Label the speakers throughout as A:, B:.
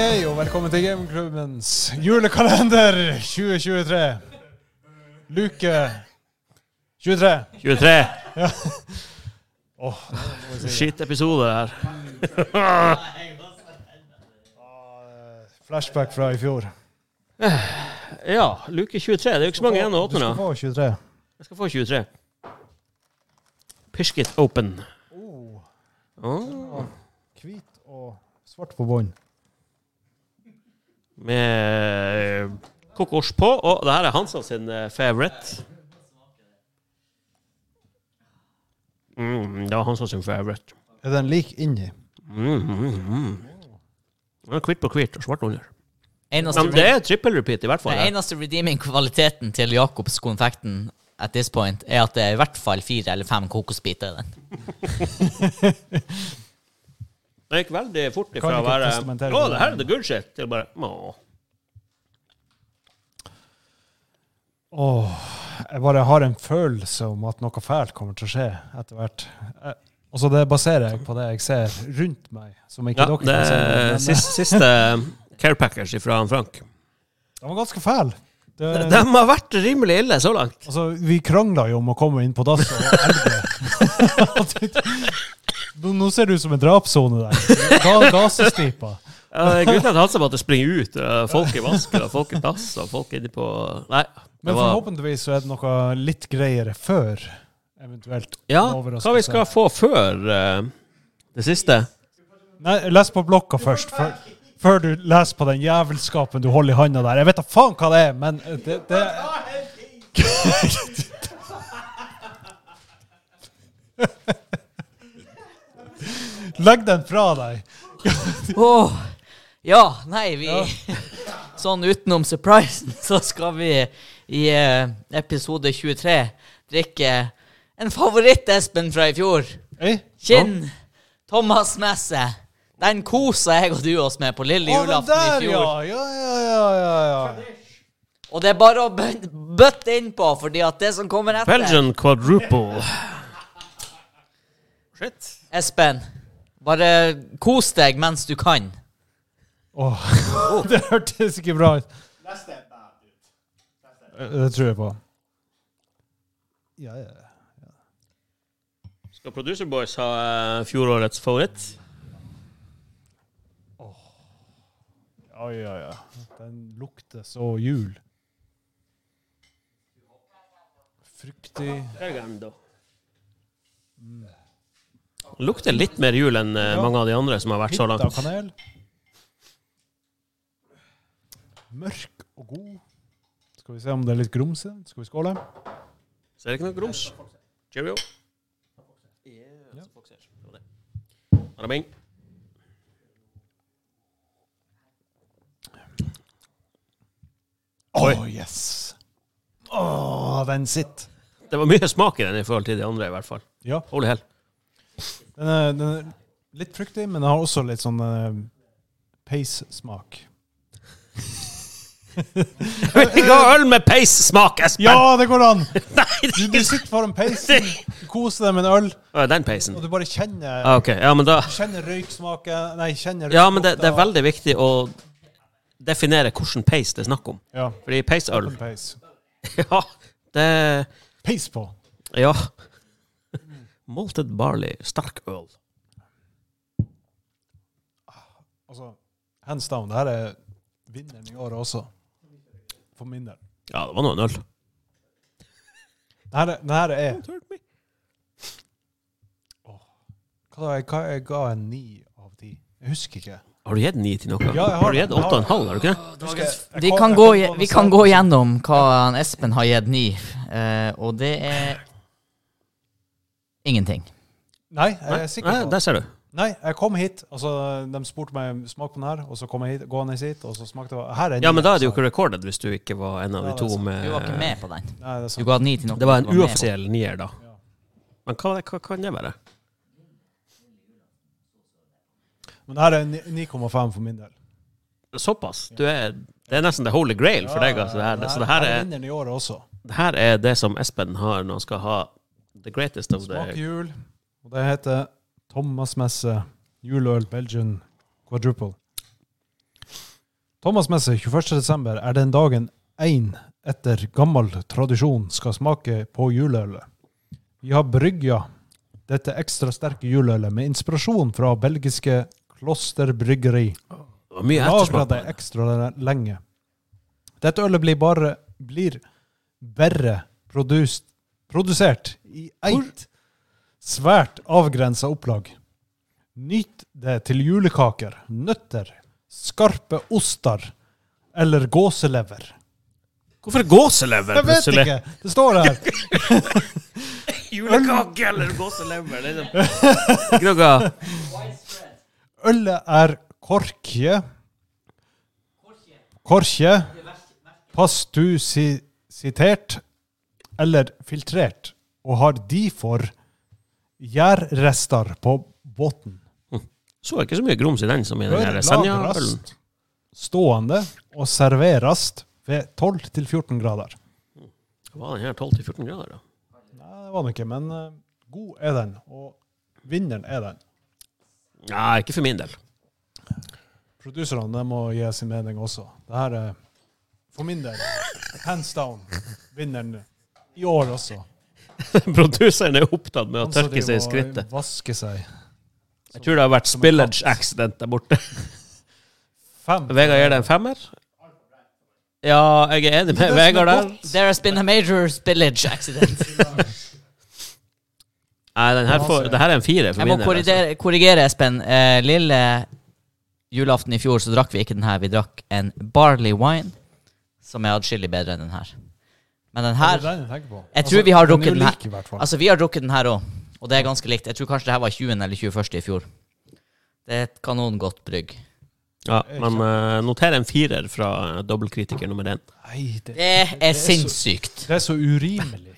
A: Velkommen til Gamingklubbens julekalender 2023. Luke 23.
B: 23.
A: Åh,
B: Shit episode det her.
A: flashback fra i fjor.
B: Ja, luke 23. Det er jo ikke så mange igjen å
A: Du
B: åpne.
A: skal
B: da.
A: få 23.
B: Jeg skal få 23. Pisket open.
A: Oh,
B: Åh,
A: hvit og svart på bånd.
B: med eh, kokos på. Og det her er Hansa sin eh, favorite. Mm, det var Hansa sin favorite.
A: Er den lik inni?
B: Mm, mm, mm. Ja, Hvitt på hvitt og svart under.
C: Eneste,
B: Men det er triple repeat, i hvert fall.
C: den
B: her.
C: eneste redeeming kvaliteten til Jacobs konfekten at this point, er at det er i hvert fall fire eller fem kokosbiter i den.
B: Det gikk veldig fort
A: Kan
B: ifra å
A: ikke
B: være
A: testamentere
B: Å,
A: på
B: det her er the good shit, til bare Åh.
A: Åh, jeg bare har en følelse om at noe fælt kommer til å skje etter hvert. Eh, Altså det baserer jeg på det jeg ser rundt meg, som ikke
B: Ja,
A: dere
B: det
A: kan se. men,
B: er
A: eh,
B: siste, siste care package fra han Frank.
A: Den var ganske fæl. Det,
B: De har vært rimelig ille så langt.
A: altså, vi krangla jo om å komme inn på dass og elge. Nå- Nå ser det ut som en drapssone der. Ga, Gasestripa.
B: Ja, Grunnen til at Hansa måtte springe ut. eh, Folk i vasken, og folk i dass, og folk inne på Nei. Det
A: Men
B: var,
A: forhåpentligvis så er det noe litt greiere før eventuelt
B: ja,
A: overraskelse.
B: hva vi skal få før eh, det siste?
A: Nei, les på blokka først. Før, før du leser på den jævelskapen du holder i handa der. Jeg vet da faen hva det er, men det, det Legg den fra deg.
C: Åh, ja, nei, vi Sånn utenom surprisen, så skal vi i eh, episode 23 drikke en favoritt Espen fra i fjor.
A: Ei?
C: Kinn. Thomas Messe. Den kosa jeg og du oss med på lille
A: Å, den
C: julaften i
A: der, ja.
C: fjor.
A: Ja, ja, ja, ja, ja.
C: Og det er bare å bø- bøtte innpå, fordi at det som kommer etter
B: Belgian quadruple. Shit.
C: Espen, bare kos deg mens du kan.
A: Åh,
C: Oh.
A: det hørtes ikke bra ut. Det tror jeg på. Ja, ja.
B: Skal Producer Boys ha eh, fjorårets favoritt?
A: Ja, ja, ja. Den lukter så jul. Fruktig
B: Lukter litt mer jul enn eh,
A: Ja.
B: mange av de andre som har vært så
A: Hvitt av
B: langt.
A: kanel. Mørk og god. Skal vi se om det er litt grumse? Skal vi skåle?
B: Så er det ikke noe grums. Cheerio.
A: Ja.
B: Arabing.
A: Oi, yes! Åh, den sitter.
B: Det var mye smak i den i forhold til de andre, i hvert fall.
A: Ja.
B: Holy hell.
A: Den er, den er litt fruktig, men den har også litt sånn uh, peissmak.
B: Jeg vil ikke ha øl med peissmak, Espen!
A: Ja, det går an!
B: Nei,
A: Du, du sitter foran peisen, du koser deg med en øl,
B: Å, Den peisen.
A: og du bare kjenner
B: Ah, ok, ja, men da
A: Kjenner røyksmaken Nei, kjenner
B: Ja, men det, det er
A: røykdufta.
B: veldig viktig å definere hvilken peis det er snakk om.
A: Ja.
B: Fordi peisøl
A: Open pace.
B: Ja, det
A: Pace på.
B: Ja. Molted barley, stark øl.
A: Altså, hands down. Det her er vinneren i året også. For min del.
B: Ja, det var nå en øl.
A: Den her, er- den her er Hva da? Jeg, hva- jeg ga en ni av ti. Jeg husker ikke.
B: Har du gitt ni til noe?
A: Ja, jeg har
B: du
A: det.
B: gitt åtte og en halv, har du ikke det?
A: Husker jeg- jeg
C: Vi
A: kom-
C: kan,
A: jeg kom
C: gå, i-
A: på
C: vi
A: noe
C: kan
A: særlig.
C: gå gjennom hva han Espen har gitt ni, eh, og det er ingenting.
A: Nei, jeg er sikker
B: Nei,
A: på det.
B: der ser du.
A: Nei, jeg kom hit, altså, de spurte meg smak på den her, og så kom jeg hit, gående hit, og så smakte jeg Her er
B: Ja, men da er det
A: det
B: jo ikke recorded hvis du ikke var en av
A: Ja, det
B: de
A: er
B: to
A: sant.
B: med
C: Du var ikke med på den.
A: Nei, det er
C: Du
A: sant.
C: ga ni til noen.
B: Det var
C: du
B: en
C: med på.
B: uoffisiell nier, da.
A: Ja.
B: Men hva, hva kan det være?
A: Men det her er en ni- 9,5 for min del.
B: Såpass? Du er, det er nesten the holy grail for deg. Altså, det her. Så det her
A: er
B: er,
A: vinneren i året også.
B: det her er det som Espen har når han skal ha the greatest of
A: Smak
B: the
A: jul. Og det heter Thomas Messe juleøl Belgian quadruple. Thomas Messe, 21.12. er den dagen én etter gammel tradisjon skal smake på juleølet. Vi har brygga dette ekstra sterke juleølet med inspirasjon fra belgiske klosterbryggeri.
B: Det var mye
A: Lagra
B: ettersmak.
A: det ekstra lenge. Dette ølet blir bare blir verre produs- produsert i eit svært avgrensa opplag. Nyt det til julekaker, nøtter, skarpe oster eller gåselever.
B: Hvorfor er gåselever
A: Jeg vet
B: plutselig?
A: ikke! Det står her.
D: Julekake eller gåselever? Liksom.
C: Grogga.
A: Ølet er korkje Korkje Pastusitert Eller filtrert Og har difor Gjærrester på båten
B: Så ikke så mye grums i den som i den her Senja-ølen.
A: Lagrast Stående og serverast Ved 12-14 grader
B: Var den her 12-14 grader, da?
A: Nei, det var den ikke, men eh, god er den Og vinneren er den
B: Nei, ikke for min del.
A: Produserne de må gi sin mening også. Det her er for min del hands down vinneren i år også.
B: Produseren er opptatt med å
A: Han som
B: tørke seg
A: driver
B: i
A: og
B: skrittet.
A: Vasker seg.
B: Jeg tror det har vært spillage accident der borte.
A: Fem.
B: Vegard gir det en femmer. Ja, jeg er enig
A: Det er
B: med
A: det som er
B: Vegard der.
A: godt.
C: There has been a major spillage accident.
B: Nei, den her, får, det her er en fire for
C: Jeg må
B: min del. altså.
C: korrigere, korrigere Espen. Eh, lille julaften i fjor så drakk vi ikke den her. Vi drakk en barley wine, som er adskillig bedre enn den her. Men
A: Det
C: den
A: er
C: her
A: den jeg tenker på. Altså,
C: Jeg tror vi har drukket
A: den
C: den
A: er
C: her.
A: ulik i hvert fall.
C: Altså, vi har drukket den her òg, og det er ganske likt. Jeg tror kanskje det her var 20. eller 21. i fjor. Det er et kanongodt brygg.
B: Ja, men eh, noter en firer fra eh, dobbeltkritiker nummer én.
A: Nei, det,
C: Det er sinnssykt.
A: det er så urimelig.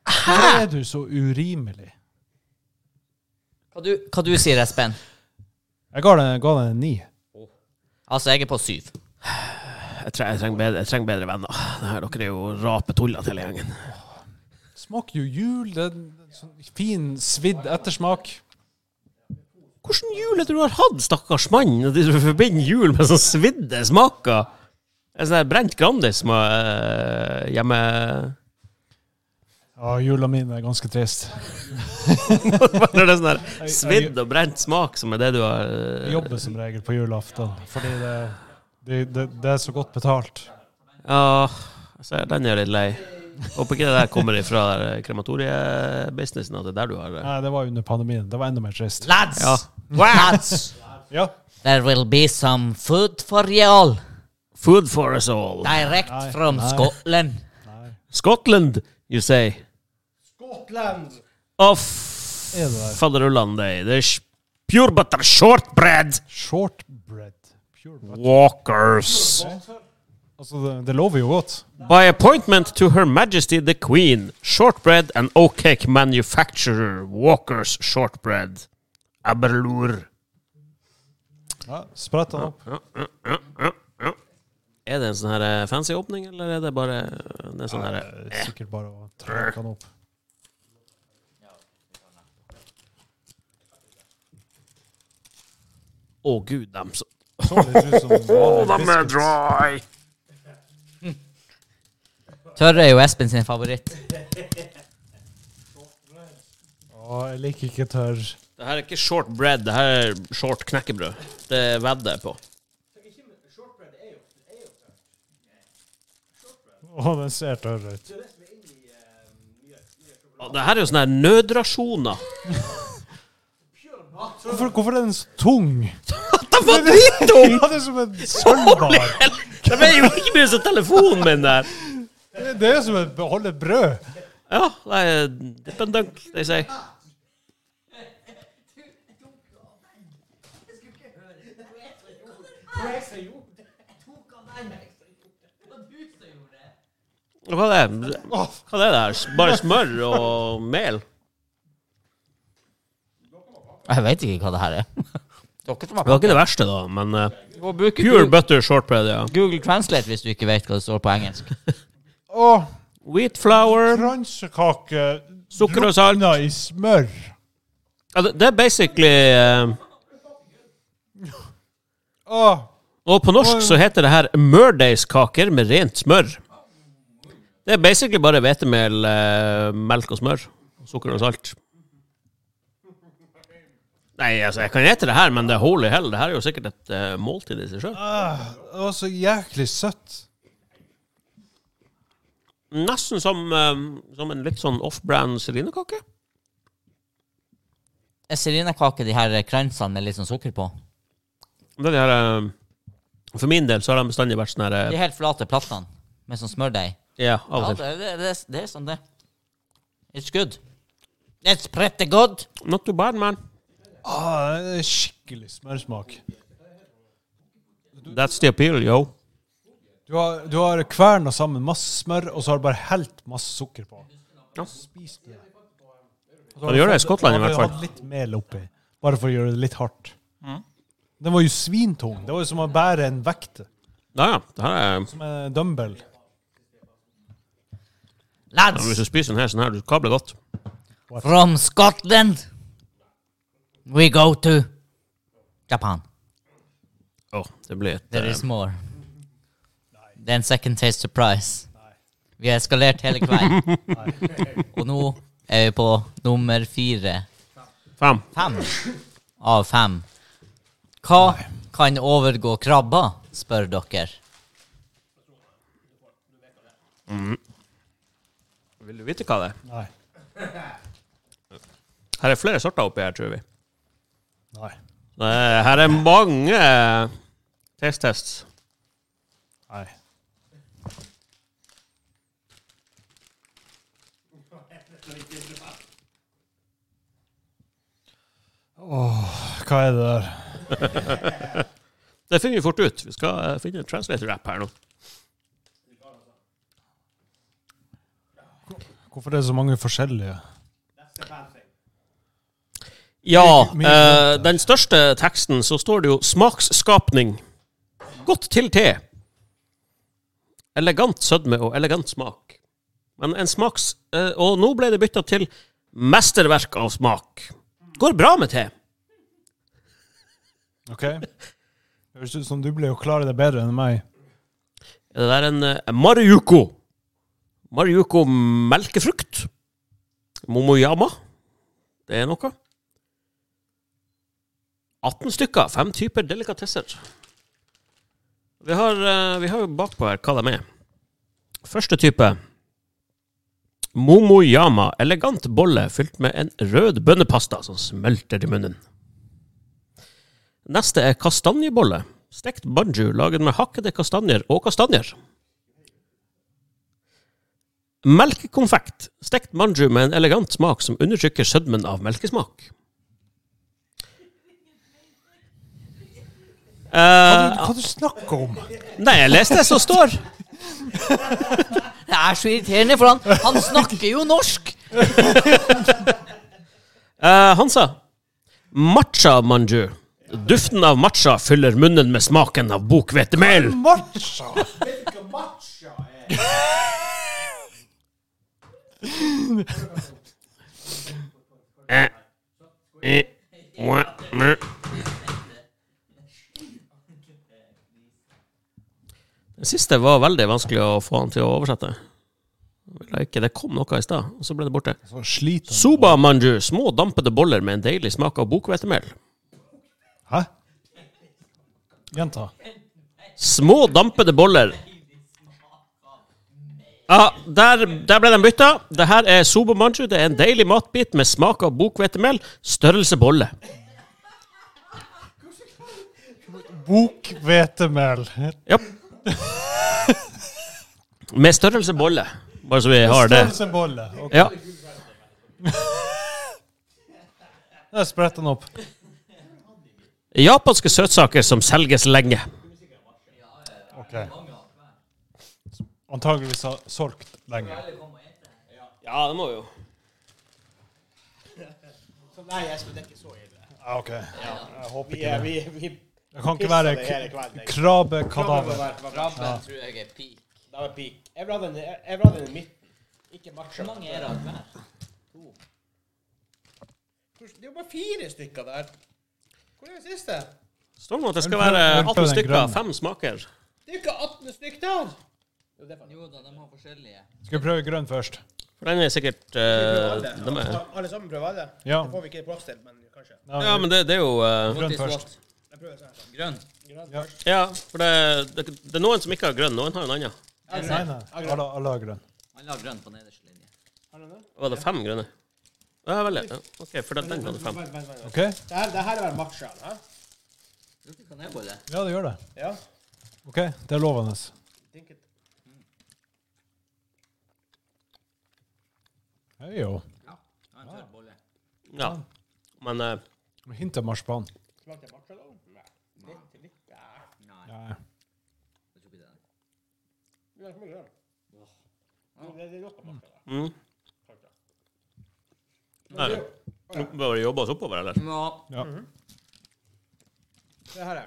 A: Hvorfor er du så urimelig?
C: Hva du, hva du sier Espen?
A: Jeg ga den, ga den en ni.
C: Altså, jeg er på syv.
B: Jeg, tre, jeg, trenger bedre, jeg trenger bedre venner. Det her, dere er jo rapetuller til hele gjengen.
A: Smaker jo jul. Det er en sånn fin, svidd ettersmak.
B: Hvordan jul er det du har hatt, stakkars mann? At Du forbinder jul med sånn svidde smaker. En sånn her brent Grandis som er eh, hjemme
A: Ja, jula mi er ganske trist.
B: Når det er sånn her svidd og brent smak som er det du har eh,
A: Jeg jobber som regel på julaften, fordi det, det, det, det er så godt betalt.
B: Ja, jeg ser, den er jeg litt lei. Håper ikke det der kommer ifra der krematoriebusinessen, at det er der du har eh, det.
A: Nei, det var under pandemien. Det var enda mer trist.
C: Lads!
B: Ja.
C: Lads!
A: Ja.
C: There will be some food for you all.
B: Food for us all.
C: Direct
A: Nei,
C: from
A: nei.
C: Scotland.
B: Scotland, you
A: Er
B: say.
A: det
B: Scotland!
A: der?
B: Of faderullan day. There's pure butter shortbread
A: Shortbread. Pure butter.
B: walkers.
A: Altså, det, det lover jo godt.
B: By appointment to Her Majesty the Queen, shortbread and oat cake manufacturer, Walkers shortbread. Aberlour.
A: Ja, Sprett den opp.
B: Er det en sånn her eh, fancy åpning, eller er det bare eh, det er sånn her eh,
A: Det er Sikkert bare å trykke den opp.
B: Å gud, dem så
A: Så litt ut som vanlig biscuit.
B: dry!
C: Tørre er jo Espen sin favoritt.
A: Å, jeg liker ikke tørr.
B: Det her er ikke short bread, det her er short knekkebrød. Det vedder jeg på.
A: Å, den ser tørr ut.
B: Og Det her er jo sånne her nødrasjoner.
A: Hvorfor, hvorfor er den så tung?
B: Den var drittung!
A: Ja, det er som en sølvbar.
B: Det er jo ikke mye som telefonen min der.
A: Det det er som et beholde brød.
B: Ja, det er dip and dunk, de sier. Hva er det? Hva er det der? Bare smør og mel?
C: Jeg veit ikke hva det her er. Dere som
B: Det var ikke det verste, da, men eh,
C: Gå og bruke
B: Pure
C: Google,
B: butter shortbread, ja.
C: Google Translate hvis du ikke vet hva det står på engelsk.
A: Å,
B: Wheat flour
A: kransekake
B: Sukker og salt.
A: drukna i smør.
B: ja, det, det er basically eh,
A: Å,
B: Og på norsk så heter det her mørdeigskaker med rent smør. Det er basically bare hvetemel, eh, melk og smør. og Sukker og salt. Nei, altså, jeg kan ete det her, men det er holy hell. Det her er jo sikkert et eh, måltid i seg sjøl.
A: Det var så jæklig søtt.
B: Nesten som, eh, som en litt sånn off-brand serinekake.
C: Er serinekake de her kransene med litt sånn sukker på?
B: Det er de her eh, For min del så har de bestandig vært sånn her
C: De
B: eh,
C: helt flate plattene med sånn smørdeig?
B: Ja, av
C: Ja,
B: og til.
C: det, det, det, det er sånn, det. It's good. It's pretty good.
B: Not too bad, man.
A: Ah, det er skikkelig smørsmak.
B: That's the appeal, yo.
A: Du har, du har kverna sammen masse smør, og så har du bare helt masse sukker på.
B: Ja.
A: Spis det. Og så
B: Ja, det gjør
A: har du
B: det i
A: fått-
B: Skottland i
A: og har
B: hvert
A: du
B: fall.
A: hatt Litt mel oppi, bare for å gjøre det litt hardt. Den var jo svintung. Det var jo som å bære en vekt,
B: Ja, ja. Det her er
A: som en dumbbell.
B: Ja,
C: Lads
B: men Hvis du spiser den her sånn her, du kabler godt.
C: from Scotland, we go to Japan.
B: Å, det blir et
C: There
B: eh,
C: is more. Det er en second taste surprise. Vi har eskalert hele kvelden. Og nå er vi på nummer fire.
B: Fem.
C: Fem av fem. Hva kan overgå krabba, spør dere.
B: Vil du vite hva det er?
A: Nei.
B: Her er flere sorter oppi her, tror vi.
A: Nei.
B: Det er- Her er mange eh, taste-tests.
A: Nei. Åh, hva er det der?
B: Det finner vi fort ut. Vi skal eh, finne en translator-app her nå.
A: Hvorfor er det så mange forskjellige?
B: Ja,
A: Mye- mye-
B: eh, den største teksten så står det jo 'smaksskapning'. Godt til te. Elegant sødme og elegant smak. Men en smaks... eh, og nå ble det bytta til 'mesterverk av smak'. Går bra med te.
A: Ok? Høres ut som du blir jo klar i det bedre enn meg.
B: Det der er en uh, Mariuko. Mariuko melkefrukt. Momoyama. Det er noe. 18 stykker. Fem typer delikatesser. Vi har, eh, vi har jo bakpå her hva de er. Første type. Momoyama. Elegant bolle fylt med en rød bønnepasta som smelter i munnen. Neste er kastanjebolle. Stekt banju laget med hakkede kastanjer og kastanjer. Melkekonfekt. Stekt banju med en elegant smak som undertrykker sødmen av melkesmak. Eh,
A: Hva du snakker om?
B: nei, jeg leste det som står.
C: Det er så irriterende, for han, han snakker jo norsk!
B: Eh, Hansa. Matcha manju. Duften av matcha fyller munnen med smaken av bokhvetemel.
A: Matcha!
B: Eh, mwah, mwah. Den siste var veldig vanskelig å få han til å oversette. Vil jeg ikke. Det kom noe i stad, og så ble det borte.
A: Så sliter han.
B: Soba manju, små dampede boller med en deilig smak av bokhvetemel.
A: Hæ? Gjenta.
B: Små dampede boller. Ja, der, der ble de bytta. Det her er soba manju. Det er en deilig matbit med smak av bokhvetemel. Størrelse bolle.
A: Bokhvetemel.
B: Ja. Med størrelse bolle, bare så vi har det.
A: Størrelsebolle. Ok,
B: Ja.
A: Der spretter den opp.
B: Japanske søtsaker som selges lenge.
A: Ok. Antageligvis har solgt lenge.
B: Ja, det må vi jo.
E: Nei, Espen, det er ikke så ille.
A: Ja, ok. Jeg håper
E: Vi,
A: ikke
E: er-
A: det.
E: vi, vi
A: Det kan ikke
E: pisser
A: være
E: det hele kvelden.
A: k-
E: jeg. Krabbe
A: krabbekadaver.
E: var- var bra.
C: tror jeg er pi.
E: Det var peak. Jeg vil ha den, jeg vil ha den i midten, ikke matcha.
C: Hvor mange er det av hver?
E: Det er jo bare fire stykker der. Hvor er den siste?
B: Står det noe at det skal
A: Ølprøv-
B: være
A: ølprøv
B: 18
A: den
B: stykker,
A: grønne.
B: fem smaker?
E: Det er jo ikke 18 stykk der! Jo, det er faen.
C: Jo da, de har forskjellige.
A: Skal vi prøve grønn først?
B: For den er sikkert eh,
E: Prøv
B: de er,
E: alle. Alle sammen prøver alle.
A: Ja.
E: Det får vi ikke plass til, men kanskje.
B: Ja, men det, det er jo eh,
A: Grønn først.
E: Jeg prøver sånn. her.
C: Grønn.
E: Grønn
A: Ja.
E: først.
B: Ja, for det, det, det er noen som ikke har grønn, noen har en annen.
E: Er
A: Nei,
E: det grønn?
A: nei. Alle, alle har grønn.
C: Alle har grønn på nederste linje.
E: Er det grønn?
B: Var det fem grønne? Ja, veldig. Ja. OK, for den, den hadde
E: Vent,
B: fem.
E: vent, vent, vent.
A: OK?
E: Det her, det her er vel matcha, hæ?
C: Tror du ikke kan jeg bolle?
A: Ja, det gjør det.
E: Ja.
A: OK, det er lovende.
E: Think it.
A: Hei, jo.
C: Ja. ja en tørr bolle.
B: Ja. Men eh,
A: Hint av marsipan.
E: Smakte det matcha, da? Nei. Litt, litt. Ja.
C: Nei,
A: Nei.
C: jeg tror ikke det. er den.
E: Det er grønn. Jo, Det det er nok av matcha, da.
B: mm,
E: Kanskje.
B: Nei. Bør vi jobbe oss oppover, eller?
C: Ja,
A: Ja.
E: Det her er.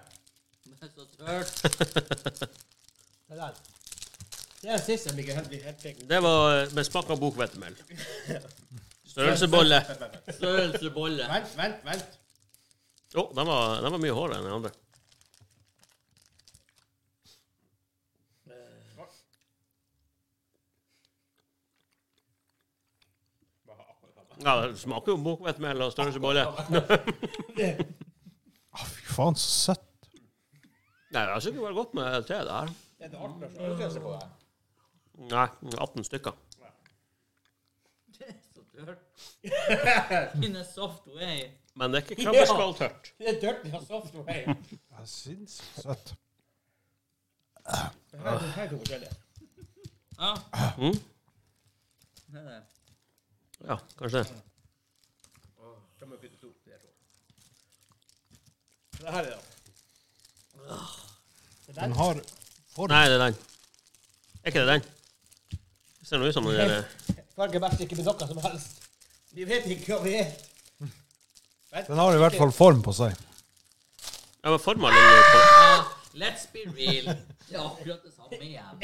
C: det er så tørt.
E: Det der. Det er den siste som ikke helt blir helt fikk.
B: Det var eh, med smak av bokhvetemel. Størrelsebolle. Å,
C: Størrelse bolle.
E: Vent, vent, vent.
B: den, var, den var mye hardere enn den andre. Ja, det smaker jo bokhvetemel og størrelsebolle.
A: Å, fy faen, så søtt.
B: Nei, det har sikkert vært godt med te, det her.
E: Det er det artig å slå på det.
B: Nei, 18 stykker.
C: Det er så tørt. In a soft way.
B: Men det er ikke krabbeskalltørt.
E: Det er dirty og soft way.
A: Ja, Sinnssykt søtt.
E: Det her det her er to forskjellige.
C: Ja.
B: Mm?
C: Det er det.
B: Ja, kanskje det.
E: De er byttet opp, de her to. Det her er det. Det
A: Den
E: der.
A: har for...
B: Nei, det er den. Er ikke det den? Det ser nå ut som den der
E: Fargen best ikke blir noe som helst. Vi vet ikke hva vi er. Vent.
A: Den har i hvert fall form på seg.
B: Ja, men forma ligner jo på det.
C: Ja, let's be real. Det er akkurat det samme igjen.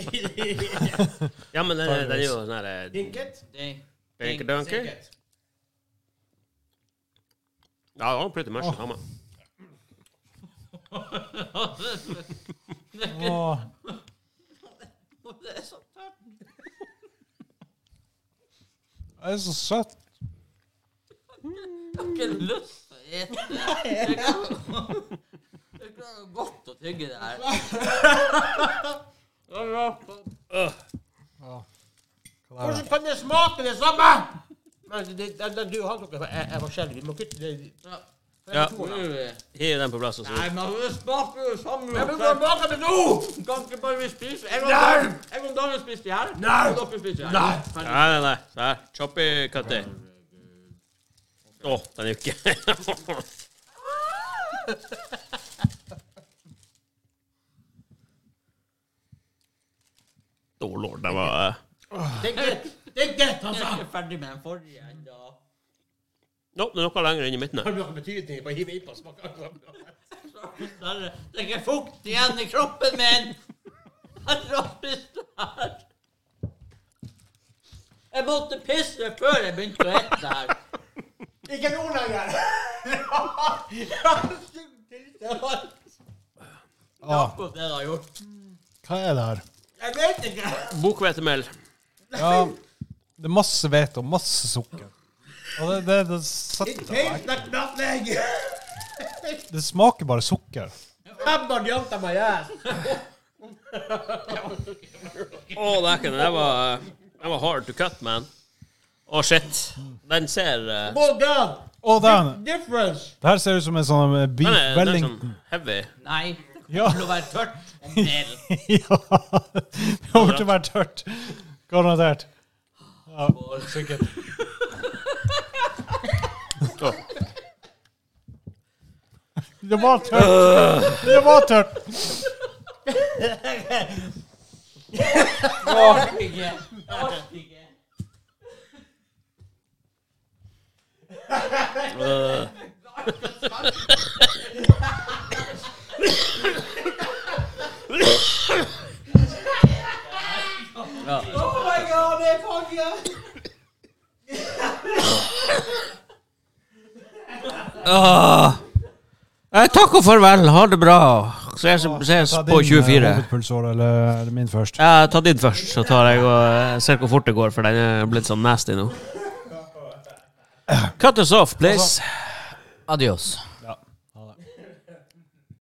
B: Ja, men den, er- den er jo sånn her eh,
E: Dinket.
C: Ding,
B: Dinky Dunky.
E: Dinket.
B: Ja, det var pretty much det samme.
A: Åh,
C: Det er så tørt.
A: det er så søtt.
C: Jeg har ikke lyst til å ete det. Jeg klarer- Jeg klarer godt å tygge det her. Det er rart.
E: Hvordan kan det smake det samme? Men det, det, det, du har noe er, er forskjellig. Vi må kutte det.
C: Ja.
B: Ja.
E: to av dem.
B: Hiv den på plass og så
C: Nei, men altså, det smaker jo sammen.
E: Men vi må bake det nå!
C: Kan ikke bare vi spise? En
E: Nei!
C: gang- en gang Daniel spiste de her,
E: Nei!
C: og dere spiste de her.
E: Nei!
C: Ferdig.
B: Nei, nei, nei. Se her. Choppy cutty. Å, den er jo ikke Oh lord, den var eh.
E: Dinket. Dinket, han
C: Jeg
E: sa.
C: er ikke ferdig med den forrige ennå.
B: Nå, det er noe lenger inn i midten her.
E: Har du noen betydning på å hive innpå smaken?
C: Herre, Det er ikke fukt igjen i kroppen min! Herre, hva spiste du her? Jeg måtte pisse før jeg begynte å ete det her.
E: Ikke nå lenger!
C: Det var
A: Åh,
C: akkurat det det har gjort.
A: hva er det her?
E: Jeg vet ikke!
B: Bokhvetemel.
A: Ja, det er masse hvete og masse sukker. Og det, det, det,
E: It
A: søtte.
E: tastes like nothing!
A: det smaker bare sukker.
E: Hamburg jumped on my ass!
B: Å, dæken, den var, den var hard to cut, man. Å, shit. Den ser eh,
E: Oh god!
A: Å, den!
E: Difference!
A: Det her ser ut som en sånn eh,
B: Den
A: beef
B: er, den er
A: welling.
B: sånn heavy.
C: Nei, det
A: Ja.
C: kommer til å være tørt en del.
A: ja. Det kommer til å være tørt. Garantert. Ja, sikkert.
B: Å,
A: Det var tørt.
B: Øh.
A: Det var tørt.
C: Jeg orker ikke. Jeg orker ikke.
B: øh.
C: Oh my god, det er fanget!
B: Ah. Åh. Jeg takker Eh, farvel, ha det bra. Ses, ses
A: Ta din,
B: på
A: eh,
B: 24.
A: hovedpulsår, eller er det min først?
B: Ja, ta din først, så tar jeg og eh, ser hvor fort det går, for den er blitt sånn nasty nå. Cut us off, please.
C: Adios.